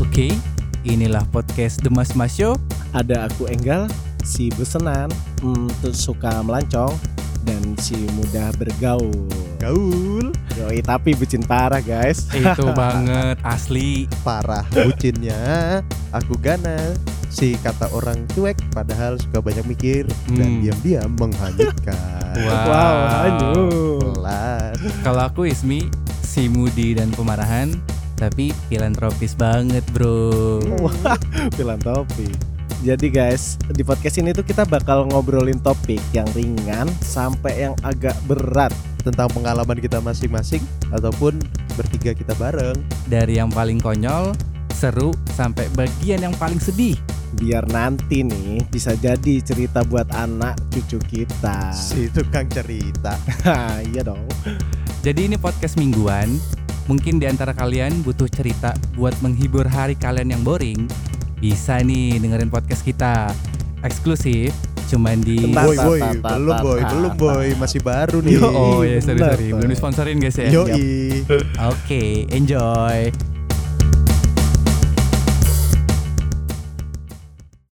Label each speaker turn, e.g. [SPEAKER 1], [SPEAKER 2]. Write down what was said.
[SPEAKER 1] Oke, inilah podcast The Mas Mas Show.
[SPEAKER 2] Ada aku Enggal, si besenan, mm, tuh suka melancong dan si mudah bergaul.
[SPEAKER 3] Gaul
[SPEAKER 2] Yoi, tapi bucin parah guys.
[SPEAKER 1] Itu banget asli.
[SPEAKER 3] parah bucinnya aku ganas si kata orang cuek padahal suka banyak mikir dan
[SPEAKER 1] Hmm.
[SPEAKER 3] diam-diam menghanyutkan
[SPEAKER 1] Wow.
[SPEAKER 2] aduh.
[SPEAKER 3] pelan
[SPEAKER 1] Kalau aku Ismi, si Mudi dan pemarahan, tapi filantropis banget, Bro.
[SPEAKER 2] Filantropi. Jadi guys, di podcast ini tuh kita bakal ngobrolin topik yang ringan sampai yang agak berat.
[SPEAKER 3] tentang pengalaman kita masing-masing ataupun bertiga kita bareng
[SPEAKER 1] Dari yang paling konyol, seru sampai bagian yang paling sedih.
[SPEAKER 2] Biar nanti nih bisa jadi cerita buat anak cucu kita.
[SPEAKER 3] si tukang cerita
[SPEAKER 2] Hah, iya dong.
[SPEAKER 1] Jadi ini podcast mingguan. Mungkin di antara kalian butuh cerita buat menghibur hari kalian yang boring. Bisa nih dengerin podcast kita. Eksklusif cuman di
[SPEAKER 2] Tentang-
[SPEAKER 3] boy boy
[SPEAKER 2] ta- ta- ta-
[SPEAKER 3] belum boy
[SPEAKER 2] ta-
[SPEAKER 3] belum
[SPEAKER 2] ta-
[SPEAKER 3] boy masih baru nih
[SPEAKER 2] Yo.
[SPEAKER 1] Oh ya sorry
[SPEAKER 2] Bener,
[SPEAKER 1] sorry belum
[SPEAKER 2] Bang.
[SPEAKER 1] disponsorin guys ya.
[SPEAKER 3] Yoi.
[SPEAKER 1] Oke, enjoy.